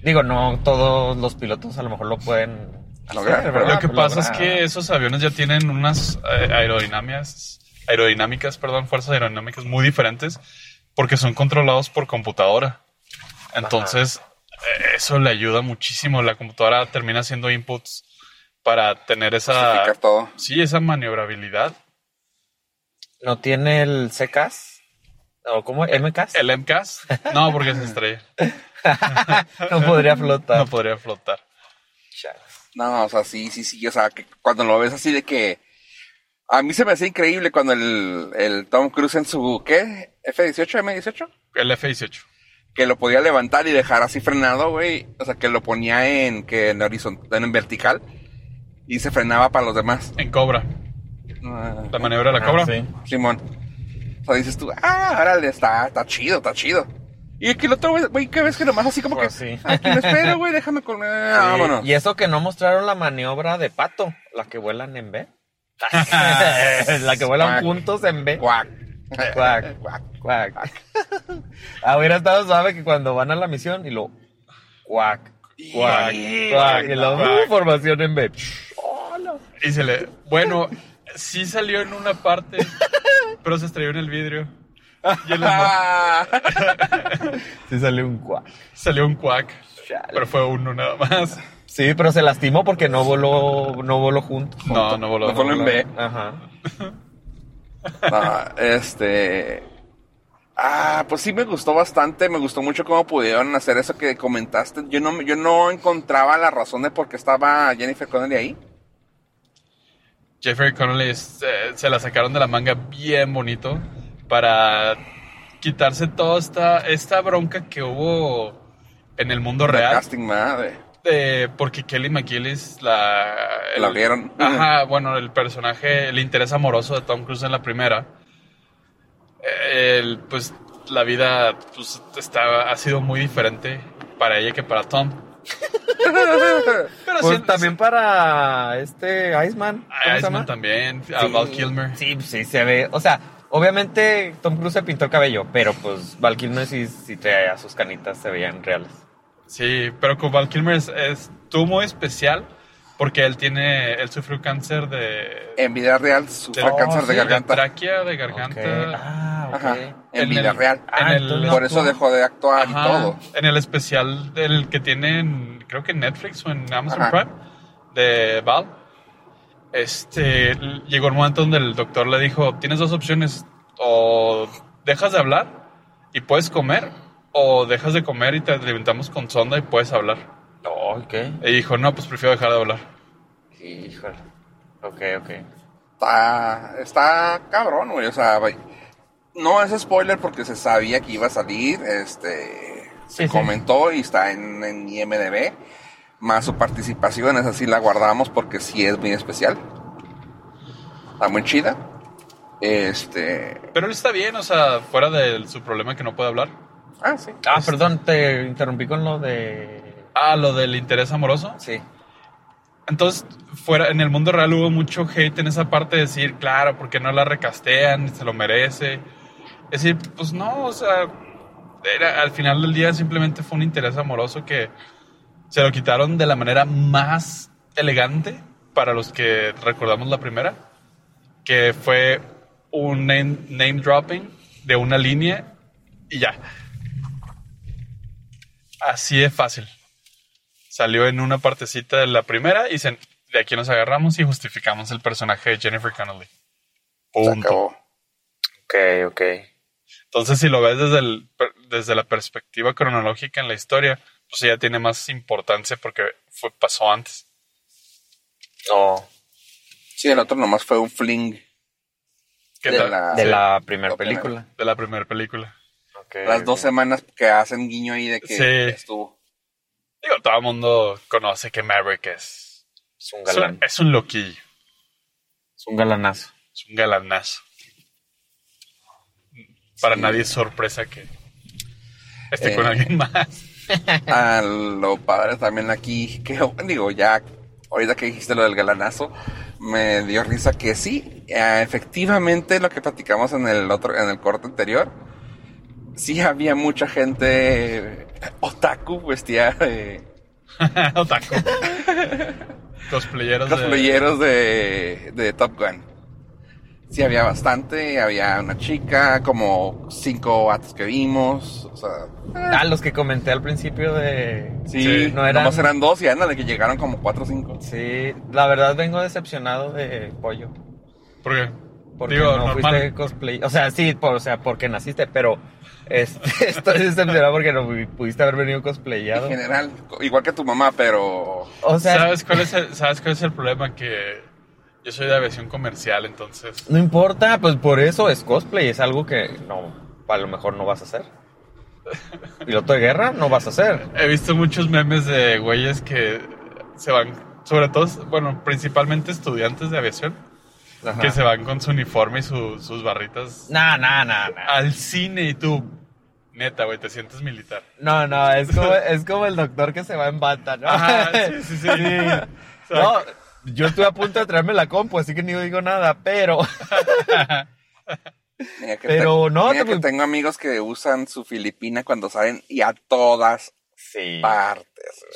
Speaker 3: Digo, no todos los pilotos a lo mejor lo pueden
Speaker 1: Lograr,
Speaker 3: hacer,
Speaker 1: pero-
Speaker 3: Ah, ¿verdad? Pues
Speaker 2: Lo que pasa es
Speaker 3: Lograr.
Speaker 2: que esos aviones ya tienen unas eh, aerodinámicas, aerodinámicas, perdón, fuerzas aerodinámicas muy diferentes porque son controlados por computadora. Entonces, eh, eso le ayuda muchísimo. La computadora termina haciendo inputs para tener esa,
Speaker 1: Justificar todo.
Speaker 2: sí, esa maniobrabilidad.
Speaker 3: ¿No tiene el CKs? ¿O cómo? ¿MKs?
Speaker 2: El MCAS, no, porque se estrella,
Speaker 3: No podría flotar.
Speaker 2: no podría flotar.
Speaker 3: Chale.
Speaker 1: No, o sea, sí, sí, sí. O sea, que cuando lo ves así de que. A mí se me hace increíble cuando el, el Tom Cruise en su. ¿Qué? ¿F-18? ¿M-18?
Speaker 2: El F-18.
Speaker 1: que lo podía levantar y dejar así frenado, güey. O sea, que lo ponía en que en horizontal, en vertical y se frenaba para los demás.
Speaker 2: En Cobra.
Speaker 1: Ah,
Speaker 2: La maniobra de la Cobra.
Speaker 3: Ah, sí.
Speaker 1: Simón. O sea, dices tú, ah, órale, está, está chido, está chido. Y que el otro, güey, güey, que ves que nomás así como
Speaker 3: Pues
Speaker 1: que
Speaker 3: sí.
Speaker 1: aquí me espero, güey, déjame con ah, vámonos.
Speaker 3: Y eso que no mostraron la maniobra de pato, la que vuelan en B. la que vuelan
Speaker 1: Cuac.
Speaker 3: juntos en B.
Speaker 1: Cuac.
Speaker 3: Cuac.
Speaker 1: Cuac.
Speaker 3: Cuac. Ah, Hubiera estado sabe que cuando van a la misión y lo cuac, cuac,
Speaker 1: Y-
Speaker 3: cuac, y la
Speaker 2: Cuac.
Speaker 3: uh, formación en B. Hola.
Speaker 2: Y se le. Bueno, sí salió en una parte, pero se estrelló en el vidrio. Y el-
Speaker 1: Ah,
Speaker 3: Sí salió un cuac.
Speaker 2: salió un cuac,
Speaker 3: Chale.
Speaker 2: pero fue uno nada más.
Speaker 3: Sí, pero se lastimó porque no voló, no voló junto.
Speaker 2: No, no voló.
Speaker 1: Lo ponlo en B.
Speaker 3: Ajá.
Speaker 1: Ah, este. Ah, pues sí me gustó bastante, me gustó mucho cómo pudieron hacer eso que comentaste. Yo no, yo no encontraba la razón de por qué estaba Jennifer Connelly ahí.
Speaker 2: Jeffrey Connolly este, se, se la sacaron de la manga bien bonito para quitarse toda esta, esta bronca que hubo en el mundo
Speaker 1: El
Speaker 2: real.
Speaker 1: casting, madre.
Speaker 2: Eh, porque Kelly McGillis la... el-
Speaker 1: La abrieron.
Speaker 2: Ajá, bueno, el personaje, el interés amoroso de Tom Cruise en la primera. El, pues la vida pues, está, ha sido muy diferente para ella que para Tom. Pero
Speaker 3: Pues
Speaker 2: sí-
Speaker 3: también para este Iceman. ¿cómo se
Speaker 2: a Iceman
Speaker 3: llama?
Speaker 2: también, a
Speaker 3: Sí.
Speaker 2: Val Kilmer.
Speaker 3: Sí, pues, sí, se ve. O sea, obviamente Tom Cruise se pintó el cabello, pero pues Val Kilmer sí, sí traía sus canitas, se veían reales.
Speaker 2: Sí, pero con Val Kilmer es, es- estuvo muy especial porque él tiene, él sufrió cáncer de...
Speaker 1: En vida real sufre
Speaker 2: Oh,
Speaker 1: cáncer de
Speaker 2: sí,
Speaker 1: garganta.
Speaker 2: tráquea, de garganta.
Speaker 3: Ok. Ah, ok.
Speaker 1: Ajá, en
Speaker 2: En
Speaker 1: vida
Speaker 2: el-
Speaker 1: real.
Speaker 2: en el-
Speaker 3: Ah, entonces no
Speaker 1: Por eso
Speaker 3: actuó.
Speaker 1: dejó de actuar
Speaker 2: Ajá,
Speaker 1: y todo.
Speaker 2: En el especial del que tienen, creo que en Netflix o en Amazon
Speaker 1: Ajá.
Speaker 2: Prime, de Val. Este, l- llegó el momento donde el doctor le dijo, tienes dos opciones, o dejas de hablar y puedes comer, o dejas de comer y te alimentamos con sonda y puedes hablar.
Speaker 3: No, ok.
Speaker 2: Y dijo, no, pues prefiero dejar de hablar.
Speaker 3: Híjole. Ok, ok.
Speaker 1: Está, está cabrón, güey. O sea, vaya. no es spoiler porque se sabía que iba a salir. Este se
Speaker 3: Sí, sí.
Speaker 1: comentó y está en, en IMDb. Más su participación, esa sí la guardamos porque sí es muy especial. Está muy chida. Este.
Speaker 2: Pero él está bien, o sea, fuera de su problema que no puede hablar.
Speaker 1: Ah, sí.
Speaker 3: Ah, perdón, te interrumpí con lo de.
Speaker 2: Ah, lo del interés amoroso.
Speaker 3: Sí.
Speaker 2: Entonces, fuera, en el mundo real hubo mucho hate en esa parte de decir, claro, porque no la recastean, se lo merece. Es decir, pues no, o sea, era- al final del día simplemente fue un interés amoroso que se lo quitaron de la manera más elegante para los que recordamos la primera, que fue un name, name dropping de una línea y ya. Así de fácil salió en una partecita de la primera y se- de aquí nos agarramos y justificamos el personaje de Jennifer Connelly.
Speaker 1: Se
Speaker 2: Punto.
Speaker 1: acabó.
Speaker 3: Ok, ok.
Speaker 2: Entonces, si lo ves desde, el per- desde la perspectiva cronológica en la historia, pues ya tiene más importancia porque fue, pasó antes.
Speaker 3: No.
Speaker 1: Sí, el otro nomás fue un fling.
Speaker 2: ¿Qué
Speaker 1: De
Speaker 2: tal?
Speaker 1: la-
Speaker 3: De
Speaker 2: Sí,
Speaker 3: la primera
Speaker 1: Ok.
Speaker 3: película.
Speaker 2: de la primera película.
Speaker 3: Okay,
Speaker 1: Las dos em-
Speaker 3: ok.
Speaker 1: semanas que hacen guiño ahí de que
Speaker 2: Sí.
Speaker 1: estuvo.
Speaker 2: Digo, todo el mundo conoce que Maverick es.
Speaker 3: Es un
Speaker 2: Es un,
Speaker 3: galán.
Speaker 2: es un loquillo,
Speaker 3: Es un galanazo.
Speaker 2: es un galanazo. Para
Speaker 1: Sí.
Speaker 2: nadie es sorpresa que esté
Speaker 1: Eh,
Speaker 2: con alguien más.
Speaker 1: A lo padre también aquí, que digo, ya, ahorita que dijiste lo del galanazo, me dio risa que sí, eh, efectivamente lo que platicamos en el otro, en el corte anterior, sí había mucha gente eh, otaku vestida de
Speaker 2: Otaku. Cosplayeros
Speaker 1: los
Speaker 2: de-
Speaker 1: playeros de, de Top Gun. Sí había bastante, había una chica, como cinco vatos que vimos, o sea,
Speaker 3: Ah, los que comenté al principio de.
Speaker 1: sí,
Speaker 2: Sí,
Speaker 3: no eran-
Speaker 1: nomás eran dos y anda de que llegaron como cuatro o cinco.
Speaker 3: Sí, la verdad vengo decepcionado de Pollo.
Speaker 2: ¿Por qué?
Speaker 3: Porque
Speaker 2: Digo,
Speaker 3: no
Speaker 2: normal.
Speaker 3: fuiste cosplay. O sea, sí, por, o sea, porque naciste, pero este, estoy decepcionado porque no pu- pudiste haber venido cosplayado.
Speaker 1: En general, co- igual que tu mamá, pero
Speaker 3: O sea,
Speaker 2: ¿Sabes cuál, es el, ¿Sabes cuál es el problema? Que yo soy de aviación comercial, entonces...
Speaker 3: no importa, pues por eso es cosplay, es algo que no, a lo mejor no vas a hacer. Piloto de guerra no vas a hacer.
Speaker 2: He visto muchos memes de güeyes que se van, sobre todo, bueno, principalmente estudiantes de aviación,
Speaker 3: Ajá.
Speaker 2: que se van con su uniforme y su- sus barritas
Speaker 3: Nah, nah, nah, nah.
Speaker 2: al cine y tú, neta, güey, te sientes militar.
Speaker 3: No, no, es como, es como el doctor que se va en bata, ¿no?
Speaker 2: Ajá, sí, sí, sí.
Speaker 3: No, yo estuve a punto de traerme la compu, así que ni digo nada, pero...
Speaker 1: Mira que
Speaker 3: Pero
Speaker 1: te-
Speaker 3: no,
Speaker 1: mira
Speaker 3: te-
Speaker 1: que tengo amigos que usan su Filipina cuando salen y a todas
Speaker 3: Sí,
Speaker 1: partes.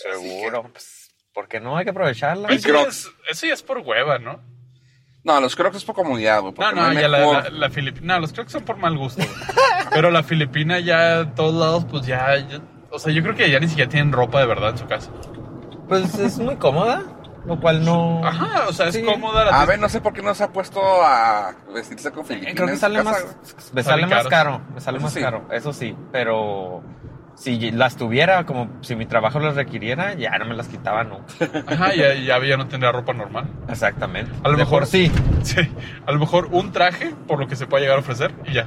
Speaker 1: güey. Así
Speaker 3: seguro. Pues, ¿Por qué no? Hay que aprovecharla.
Speaker 2: Pero
Speaker 1: Y
Speaker 2: Eso ya,
Speaker 1: Crocs.
Speaker 2: es, eso ya es por hueva, ¿no?
Speaker 1: No, los crocs es por comodidad, güey.
Speaker 2: No,
Speaker 1: porque
Speaker 2: no,
Speaker 1: hay
Speaker 2: ya la,
Speaker 1: mejor-
Speaker 2: la, la Filipina. No, los creo que son por mal gusto. güey. Pero la Filipina ya, a todos lados, pues ya, ya- O sea, yo creo que ya ni siquiera tienen ropa de verdad en su casa.
Speaker 3: Pues es muy cómoda, lo cual no...
Speaker 2: Ajá, o sea, es
Speaker 3: Sí.
Speaker 2: cómoda la
Speaker 1: A ver, no sé por qué no se ha puesto a vestirse con Filipinas.
Speaker 3: Eh, Creo que
Speaker 1: en su
Speaker 3: sale
Speaker 1: casa,
Speaker 3: más,
Speaker 1: güey.
Speaker 2: Sale
Speaker 3: me sale más
Speaker 2: caro.
Speaker 3: caro, me sale
Speaker 1: Eso
Speaker 3: más
Speaker 1: sí.
Speaker 3: caro, eso sí, pero si las tuviera, como si mi trabajo las requiriera, ya no me las quitaba nunca.
Speaker 2: Ajá, ya, ya, ya no tendría ropa normal.
Speaker 3: Exactamente.
Speaker 2: A lo
Speaker 3: De
Speaker 2: mejor-
Speaker 3: por sí.
Speaker 2: Sí, a lo mejor un traje por lo que se pueda llegar a ofrecer y ya.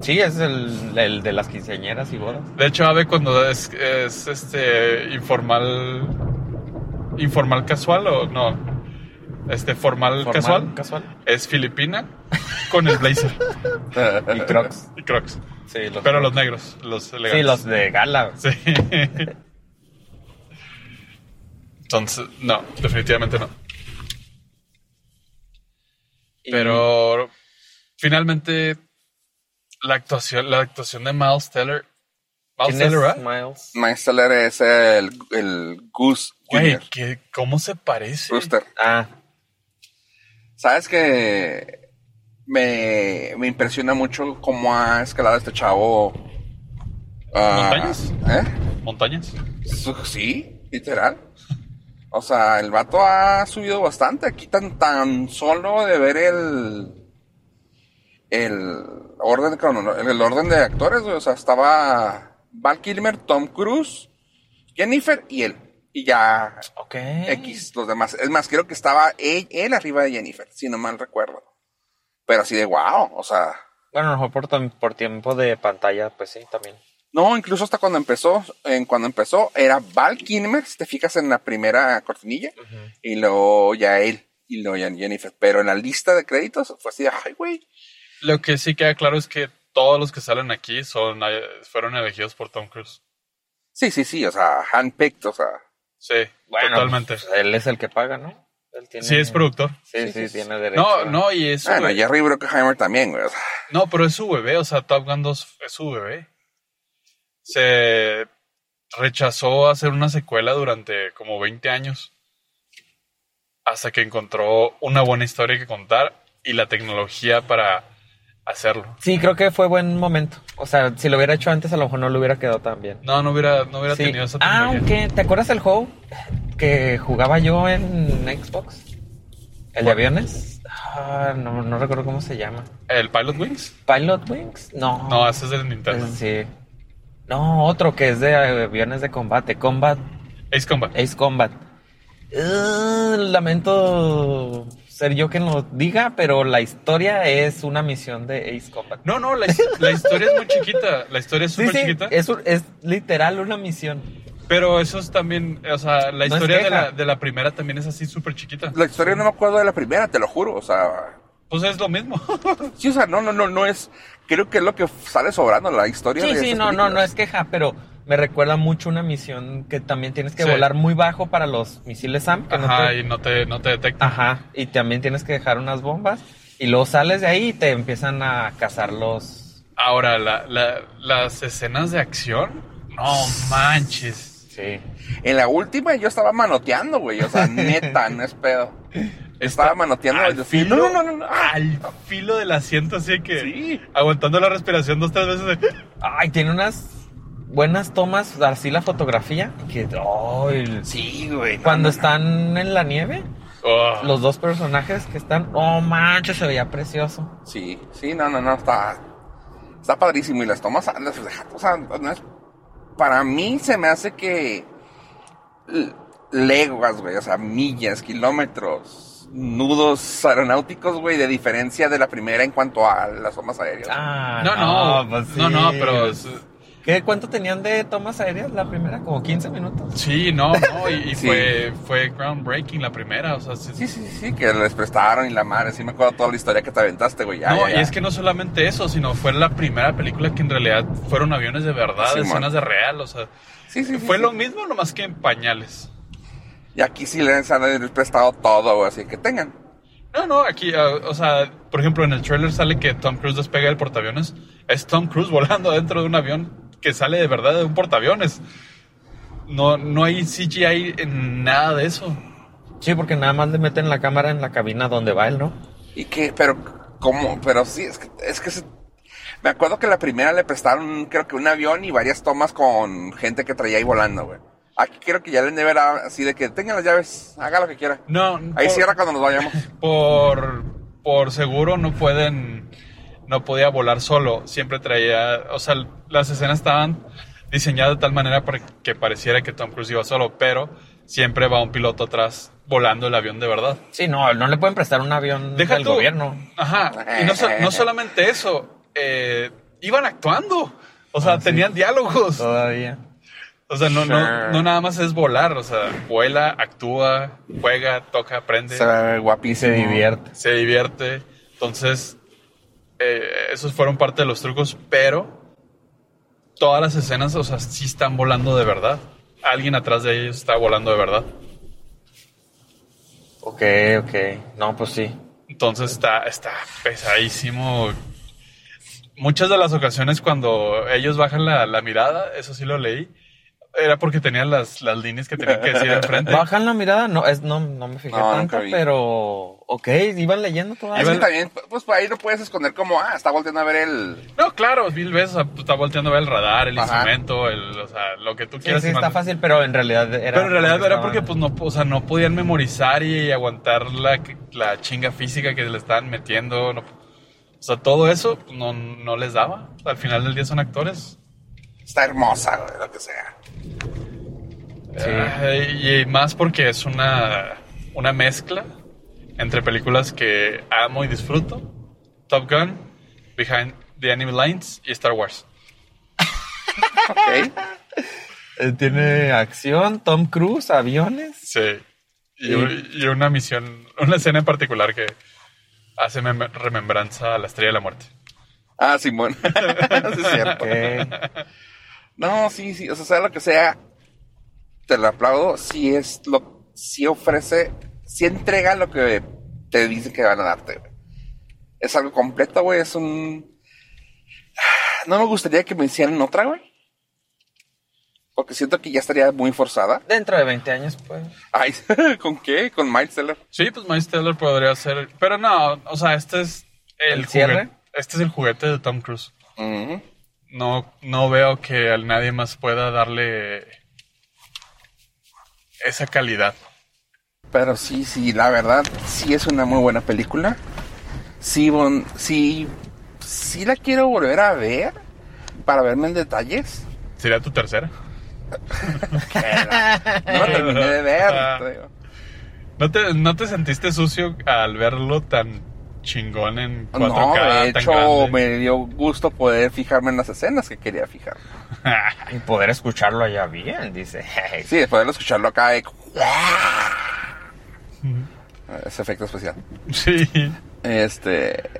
Speaker 3: Sí, es el, el de las quinceañeras y bodas.
Speaker 2: De hecho, Ave cuando es, es, este informal informal casual o no, este formal,
Speaker 3: Formal,
Speaker 2: casual
Speaker 3: Casual.
Speaker 2: es filipina con el blazer
Speaker 3: Y crocs.
Speaker 2: y crocs,
Speaker 3: Sí, los,
Speaker 2: pero los negros, los elegantes.
Speaker 3: sí, los de gala.
Speaker 2: Sí. Entonces, no, definitivamente no. Pero finalmente la actuación la actuación de Miles Teller Miles
Speaker 3: ¿Quién es
Speaker 2: Teller, ¿verdad?
Speaker 3: Miles?
Speaker 1: Miles Teller es el, el Goose
Speaker 2: Güey,
Speaker 1: Jr.
Speaker 2: ¿qué- ¿cómo se parece?
Speaker 1: Rooster.
Speaker 3: Ah,
Speaker 1: ¿Sabes que me, me impresiona mucho cómo ha escalado este chavo? Ah,
Speaker 2: ¿Montañas?
Speaker 1: ¿Eh?
Speaker 2: ¿Montañas?
Speaker 1: Su- Sí, literal. O sea, el vato ha subido bastante. Aquí tan, tan solo de ver el el orden crono- el orden de actores, güey. O sea, estaba Val Kilmer, Tom Cruise, Jennifer y él. Y ya
Speaker 3: ok.
Speaker 1: X, los demás. Es más, creo que estaba él, él arriba de Jennifer, si no mal recuerdo. Pero así de wow, o sea.
Speaker 3: Bueno, a lo mejor por, tam- por tiempo de pantalla, pues sí, también.
Speaker 1: No, incluso hasta cuando empezó, en cuando empezó, era Val Kilmer, si te fijas en la primera cortinilla, y luego ya él, y luego ya Jennifer. Pero en la lista de créditos fue así de, ay, güey.
Speaker 2: Lo que sí queda claro es que todos los que salen aquí son eh, fueron elegidos por Tom Cruise.
Speaker 1: Sí, sí, sí, o sea, handpicked, o sea.
Speaker 2: Sí,
Speaker 3: Bueno,
Speaker 2: totalmente.
Speaker 3: pues, él es el que paga, ¿no? Él tiene-
Speaker 2: Sí, es productor.
Speaker 3: Sí, sí, tiene derecho.
Speaker 2: No,
Speaker 3: a-
Speaker 2: no, y es su
Speaker 1: Bueno,
Speaker 2: bebé.
Speaker 1: Ah, Jerry Bruckheimer también, güey. o sea,
Speaker 2: No, pero es su bebé, o sea, Top Gun 2 es su bebé. Se rechazó a hacer una secuela durante como 20 años. Hasta que encontró una buena historia que contar y la tecnología para hacerlo.
Speaker 3: Sí, creo que fue buen momento. O sea, si lo hubiera hecho antes, a lo mejor no lo hubiera quedado tan bien.
Speaker 2: No, no hubiera, no hubiera
Speaker 3: Sí.
Speaker 2: tenido esa
Speaker 3: Ah,
Speaker 2: tecnología.
Speaker 3: aunque, ¿te acuerdas el juego que jugaba yo en Xbox? ¿El de aviones? Ah, no, no recuerdo cómo se llama.
Speaker 2: ¿El Pilot Wings?
Speaker 3: ¿Pilot Wings? No.
Speaker 2: No, ese es del
Speaker 3: Es-
Speaker 2: Nintendo.
Speaker 3: sí. No, otro que es de aviones de combate. Combat,
Speaker 2: Ace Combat.
Speaker 3: Ace Combat. Eh, lamento ser yo quien lo diga, pero la historia es una misión de Ace Combat.
Speaker 2: No, no, la, his- la historia es muy chiquita. La historia es
Speaker 3: Sí,
Speaker 2: súper
Speaker 3: sí,
Speaker 2: chiquita.
Speaker 3: es, un- es literal una misión.
Speaker 2: Pero eso es también, o sea, la
Speaker 3: es
Speaker 2: historia de,
Speaker 3: queja.
Speaker 2: la, de la primera también es así súper chiquita.
Speaker 1: la historia no me acuerdo de la primera, te lo juro, o sea.
Speaker 2: Pues es lo mismo.
Speaker 1: Sí, o sea, no, no, no, no es. Creo que es lo que sale sobrando la historia
Speaker 3: Sí,
Speaker 1: de
Speaker 3: sí,
Speaker 1: estas
Speaker 3: no, no, no
Speaker 1: películas.
Speaker 3: es queja, pero me recuerda mucho una misión que también tienes que
Speaker 2: Sí.
Speaker 3: volar muy bajo para los misiles SAM. que no
Speaker 2: Ajá,
Speaker 3: te- Ah.
Speaker 2: y no te, no te detecta.
Speaker 3: Ajá, y también tienes que dejar unas bombas y luego sales de ahí y te empiezan a cazar los...
Speaker 2: Ahora, la- la- las escenas de acción, no manches.
Speaker 3: Sí.
Speaker 1: En la última yo estaba manoteando, güey. O sea, neta, no es pedo. Estaba manoteando.
Speaker 2: al
Speaker 1: y yo,
Speaker 2: filo,
Speaker 1: no, no, no, no. ah,
Speaker 2: Al filo del asiento, así que
Speaker 1: Sí.
Speaker 2: aguantando la respiración dos, tres veces. de-
Speaker 3: Ay, tiene unas buenas tomas, así la fotografía, que... ay,
Speaker 1: Sí, güey. no,
Speaker 3: cuando
Speaker 1: no, no.
Speaker 3: están en la nieve,
Speaker 2: Oh.
Speaker 3: los dos personajes que están... Oh, mancho, se veía precioso.
Speaker 1: Sí, sí, no, no, no. Está, está padrísimo. Y las tomas. ah, las- O sea, no es- para mí se me hace que. l- Leguas, güey. O sea, millas, kilómetros. Nudos aeronáuticos, güey. De diferencia de la primera en cuanto a las tomas aéreas.
Speaker 3: Ah,
Speaker 2: No, no,
Speaker 3: pues sí.
Speaker 2: no, no, pero es-
Speaker 3: ¿Qué, ¿Cuánto tenían de tomas aéreas la primera? ¿Como 15 minutos?
Speaker 2: sí, no, no, y, y
Speaker 1: Sí.
Speaker 2: fue, fue groundbreaking la primera, o sea, sí-
Speaker 1: Sí, sí, sí, sí, que les prestaron y la madre. Sí, me acuerdo toda la historia que te aventaste, güey. ya,
Speaker 2: no,
Speaker 1: ya,
Speaker 2: y
Speaker 1: ya.
Speaker 2: es que no solamente eso, sino fue la primera película que en realidad fueron aviones de verdad,
Speaker 1: Simón.
Speaker 2: escenas de real, o sea,
Speaker 1: Sí, sí, sí,
Speaker 2: fue
Speaker 1: sí.
Speaker 2: lo mismo, nomás que en pañales.
Speaker 1: Y aquí sí les han prestado todo, güey, así que tengan.
Speaker 2: No, no, aquí, ah, o sea, por ejemplo, en el trailer sale que Tom Cruise despega del portaaviones. Es Tom Cruise volando dentro de un avión que sale de verdad de un portaaviones. No, no hay CGI en nada de eso.
Speaker 3: Sí, porque nada más le meten la cámara en la cabina donde va él, ¿no?
Speaker 1: Y que, pero, ¿cómo? Pero sí, es que, es que se- me acuerdo que la primera le prestaron, creo que un avión y varias tomas con gente que traía ahí volando, güey. Aquí creo que ya le Never ha- así de que tengan las llaves, haga lo que quiera.
Speaker 2: No,
Speaker 1: Ahí
Speaker 2: por-
Speaker 1: cierra cuando nos vayamos.
Speaker 2: por, por seguro no pueden, no podía volar solo, siempre traía, o sea, las escenas estaban diseñadas de tal manera para que pareciera que Tom Cruise iba solo, pero siempre va un piloto atrás volando el avión de verdad.
Speaker 4: Sí, no, no le pueden prestar un avión
Speaker 2: Deja
Speaker 4: del
Speaker 2: tú.
Speaker 4: gobierno.
Speaker 2: Ajá, y no, so- no solamente eso, eh, iban actuando, o sea, tenían diálogos,
Speaker 4: Todavía.
Speaker 2: o sea, no, no,
Speaker 1: Sure.
Speaker 2: no nada más es volar, o sea, vuela, actúa, juega, toca, aprende.
Speaker 1: Se ve
Speaker 4: Y
Speaker 1: guapísimo.
Speaker 4: se divierte.
Speaker 2: se divierte. Entonces, eh, esos fueron parte de los trucos, pero todas las escenas, o sea, sí están volando de verdad. Alguien atrás de ellos está volando de verdad.
Speaker 4: Ok, ok. No, pues sí.
Speaker 2: Eh. Entonces está, está pesadísimo. Muchas de las ocasiones cuando ellos bajan la, la mirada, eso sí lo leí, era porque tenían las, las líneas que tenían que decir enfrente.
Speaker 4: Bajan la mirada, no, es, no, no me fijé
Speaker 1: No,
Speaker 4: tanto,
Speaker 1: nunca vi.
Speaker 4: pero ok, iban leyendo
Speaker 1: Es
Speaker 4: todavía.
Speaker 1: que también, pues por ahí no puedes esconder como, ah, está volteando a ver el.
Speaker 2: No, claro, mil veces o sea, está volteando a ver el radar, el
Speaker 1: Ajá.
Speaker 2: instrumento, el, o sea, lo que tú
Speaker 4: Sí,
Speaker 2: quieras.
Speaker 4: sí, está
Speaker 2: imaginar.
Speaker 4: fácil, pero en realidad era.
Speaker 2: Pero en realidad era
Speaker 4: estaban-
Speaker 2: porque pues no, o sea, no podían memorizar y aguantar la, la chinga física que le estaban metiendo. no- o sea, todo eso pues, no, no les daba. Al final del día son actores.
Speaker 1: Está hermosa, güey, lo que sea.
Speaker 4: Sí.
Speaker 2: Eh, y más porque es una, una mezcla entre películas que amo y disfruto. Top Gun, Behind the Enemy Lines y Star Wars.
Speaker 1: Ok.
Speaker 4: Eh, Tiene acción, Tom Cruise, aviones.
Speaker 2: Sí. Y, y una misión, una escena en particular que hace mem- remembranza a la Estrella de la Muerte.
Speaker 1: Ah, Simón. sí, es cierto.
Speaker 4: Ok.
Speaker 1: No, sí, sí, o sea, sea lo que sea, te lo aplaudo, si es lo, si ofrece, si entrega lo que te dicen que van a darte, güey. Es algo completo, güey, es un... No me gustaría que me hicieran otra, güey. Porque siento que ya estaría muy forzada.
Speaker 4: Dentro de 20 años, pues.
Speaker 1: Ay, ¿con qué? Con Miles Teller.
Speaker 2: Sí, pues Miles Teller podría ser. Pero no, o sea, este es el,
Speaker 4: ¿El cierre?
Speaker 2: juguete- Este es el juguete de Tom Cruise.
Speaker 1: Ujú.
Speaker 2: No, no veo que a nadie más pueda darle esa calidad.
Speaker 1: Pero sí, sí, la verdad, sí es una muy buena película. Sí, bon- sí, sí la quiero volver a ver para verme en detalles.
Speaker 2: ¿Sería tu tercera?
Speaker 1: No la terminé de ver.
Speaker 2: Ah,
Speaker 1: te digo.
Speaker 2: ¿No te, ¿No te sentiste sucio al verlo tan chingón en 4K?
Speaker 1: No, de
Speaker 2: tan
Speaker 1: hecho,
Speaker 2: grande?
Speaker 1: me dio gusto poder fijarme en las escenas que quería fijar.
Speaker 4: Y poder escucharlo allá bien, dice.
Speaker 1: Sí, de poder escucharlo acá. de- Ese efecto especial.
Speaker 2: sí.
Speaker 1: Este.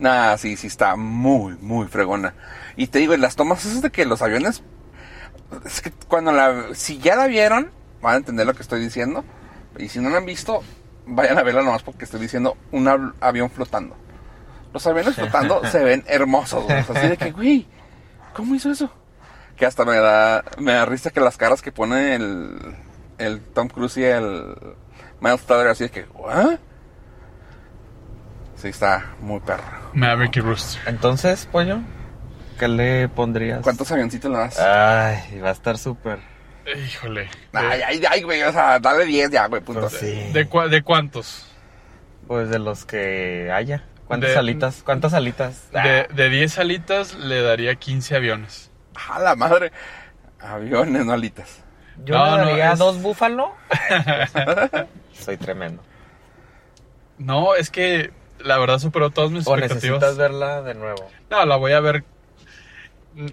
Speaker 1: Nada, sí, sí, está muy, muy fregona. Y te digo, en las tomas esas de que los aviones. Es que cuando la. Si ya la vieron, van a entender lo que estoy diciendo. Y si no la han visto, vayan a verla nomás porque estoy diciendo un av- avión flotando. Los aviones flotando se ven hermosos, güey. O sea, Así de que, güey, ¿cómo hizo eso? Que hasta me da, me da risa que las caras que pone el, el Tom Cruise y el Miles Teller, así de que, ¿what? Sí, está muy perro.
Speaker 2: Maverick y Rooster.
Speaker 4: Entonces, pollo, ¿qué le pondrías?
Speaker 1: ¿Cuántos avioncitos le
Speaker 2: Ah.
Speaker 1: das?
Speaker 4: Ay, va a estar súper.
Speaker 2: Híjole.
Speaker 1: Ay, ay, ay, güey, o sea, dale 10 Ah, ya, güey, punto.
Speaker 4: Pues sí.
Speaker 2: ¿De, cua- ¿De cuántos?
Speaker 4: Pues de los que haya. ¿Cuántas
Speaker 2: De-
Speaker 4: alitas? ¿Cuántas alitas?
Speaker 1: Ah.
Speaker 4: Ah,
Speaker 2: De, de 10 alitas le daría 15 aviones.
Speaker 1: A la madre. Aviones, no alitas.
Speaker 4: Yo
Speaker 2: No,
Speaker 4: le
Speaker 2: no,
Speaker 4: daría
Speaker 2: es-
Speaker 4: dos búfalo. Soy tremendo.
Speaker 2: No, es que la verdad superó todas mis
Speaker 4: O
Speaker 2: expectativas.
Speaker 4: necesitas verla de nuevo.
Speaker 2: No, la voy a ver. Mm,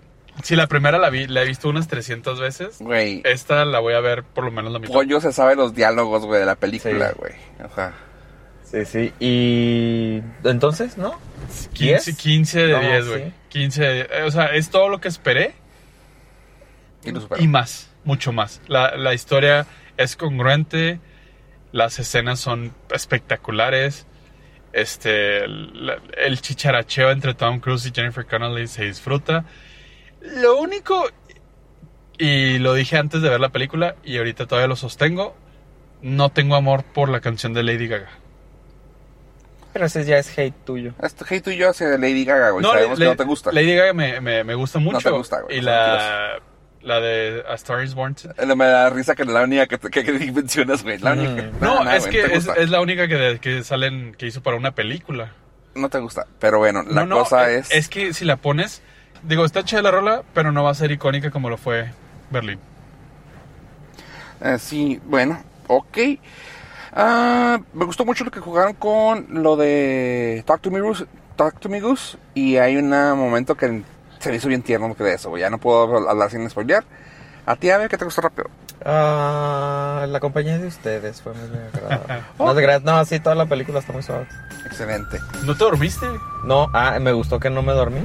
Speaker 2: Si la primera la vi, la he visto unas 300 veces.
Speaker 1: Güey,
Speaker 2: Esta la voy a ver por lo menos la mitad.
Speaker 1: Pollo se sabe los diálogos, güey, de la película,
Speaker 4: Sí.
Speaker 1: güey. O sea,
Speaker 4: Sí, sí. Y entonces, ¿no?
Speaker 2: 15, 15 de
Speaker 4: No,
Speaker 2: 10,
Speaker 4: sí.
Speaker 2: güey. 15 de eh, O sea, es todo lo que esperé
Speaker 1: y lo superó.
Speaker 2: y más, mucho más. La, la historia es congruente, las escenas son espectaculares. Este, la- el chicharacheo entre Tom Cruise y Jennifer Connelly se disfruta. Lo único, y lo dije antes de ver la película, y ahorita todavía lo sostengo, no tengo amor por la canción de Lady Gaga.
Speaker 3: Pero ese ya es hate tuyo.
Speaker 1: Esto, hey, tú y yo hacia Lady Gaga, güey. Sabemos que
Speaker 2: le-
Speaker 1: no te gusta.
Speaker 2: Lady Gaga me, me, me gusta mucho.
Speaker 1: te gusta, güey,
Speaker 2: Y
Speaker 1: es
Speaker 2: la, la de A Star is Born.
Speaker 1: Eh, Me da risa que es la única que, que, que mencionas, güey. La única.
Speaker 2: Mm. No,
Speaker 1: Nah, nah,
Speaker 2: es
Speaker 1: güey,
Speaker 2: que
Speaker 1: no te
Speaker 2: es,
Speaker 1: gusta.
Speaker 2: es la única que, de- que salen, que hizo para una película.
Speaker 1: No te gusta. Pero bueno, la
Speaker 2: No, no,
Speaker 1: cosa
Speaker 2: eh,
Speaker 1: es.
Speaker 2: Es que si la pones, digo, está chida la rola, pero no va a ser icónica como lo fue Berlín.
Speaker 1: Eh, sí, bueno, ok. Ah, me gustó mucho lo que jugaron con lo de Talk to Me Goose, Talk to Me Goose y hay un momento que se me hizo bien tierno que de eso, güey. ya no puedo hablar sin spoilear. A ti, a ver, ¿qué te gustó rápido?
Speaker 3: Ah, la compañía de ustedes fue muy agradable. No te creas, no, sí, toda la película está muy suave.
Speaker 1: Excelente.
Speaker 2: ¿No te dormiste?
Speaker 3: No, ah, me gustó que no me dormí.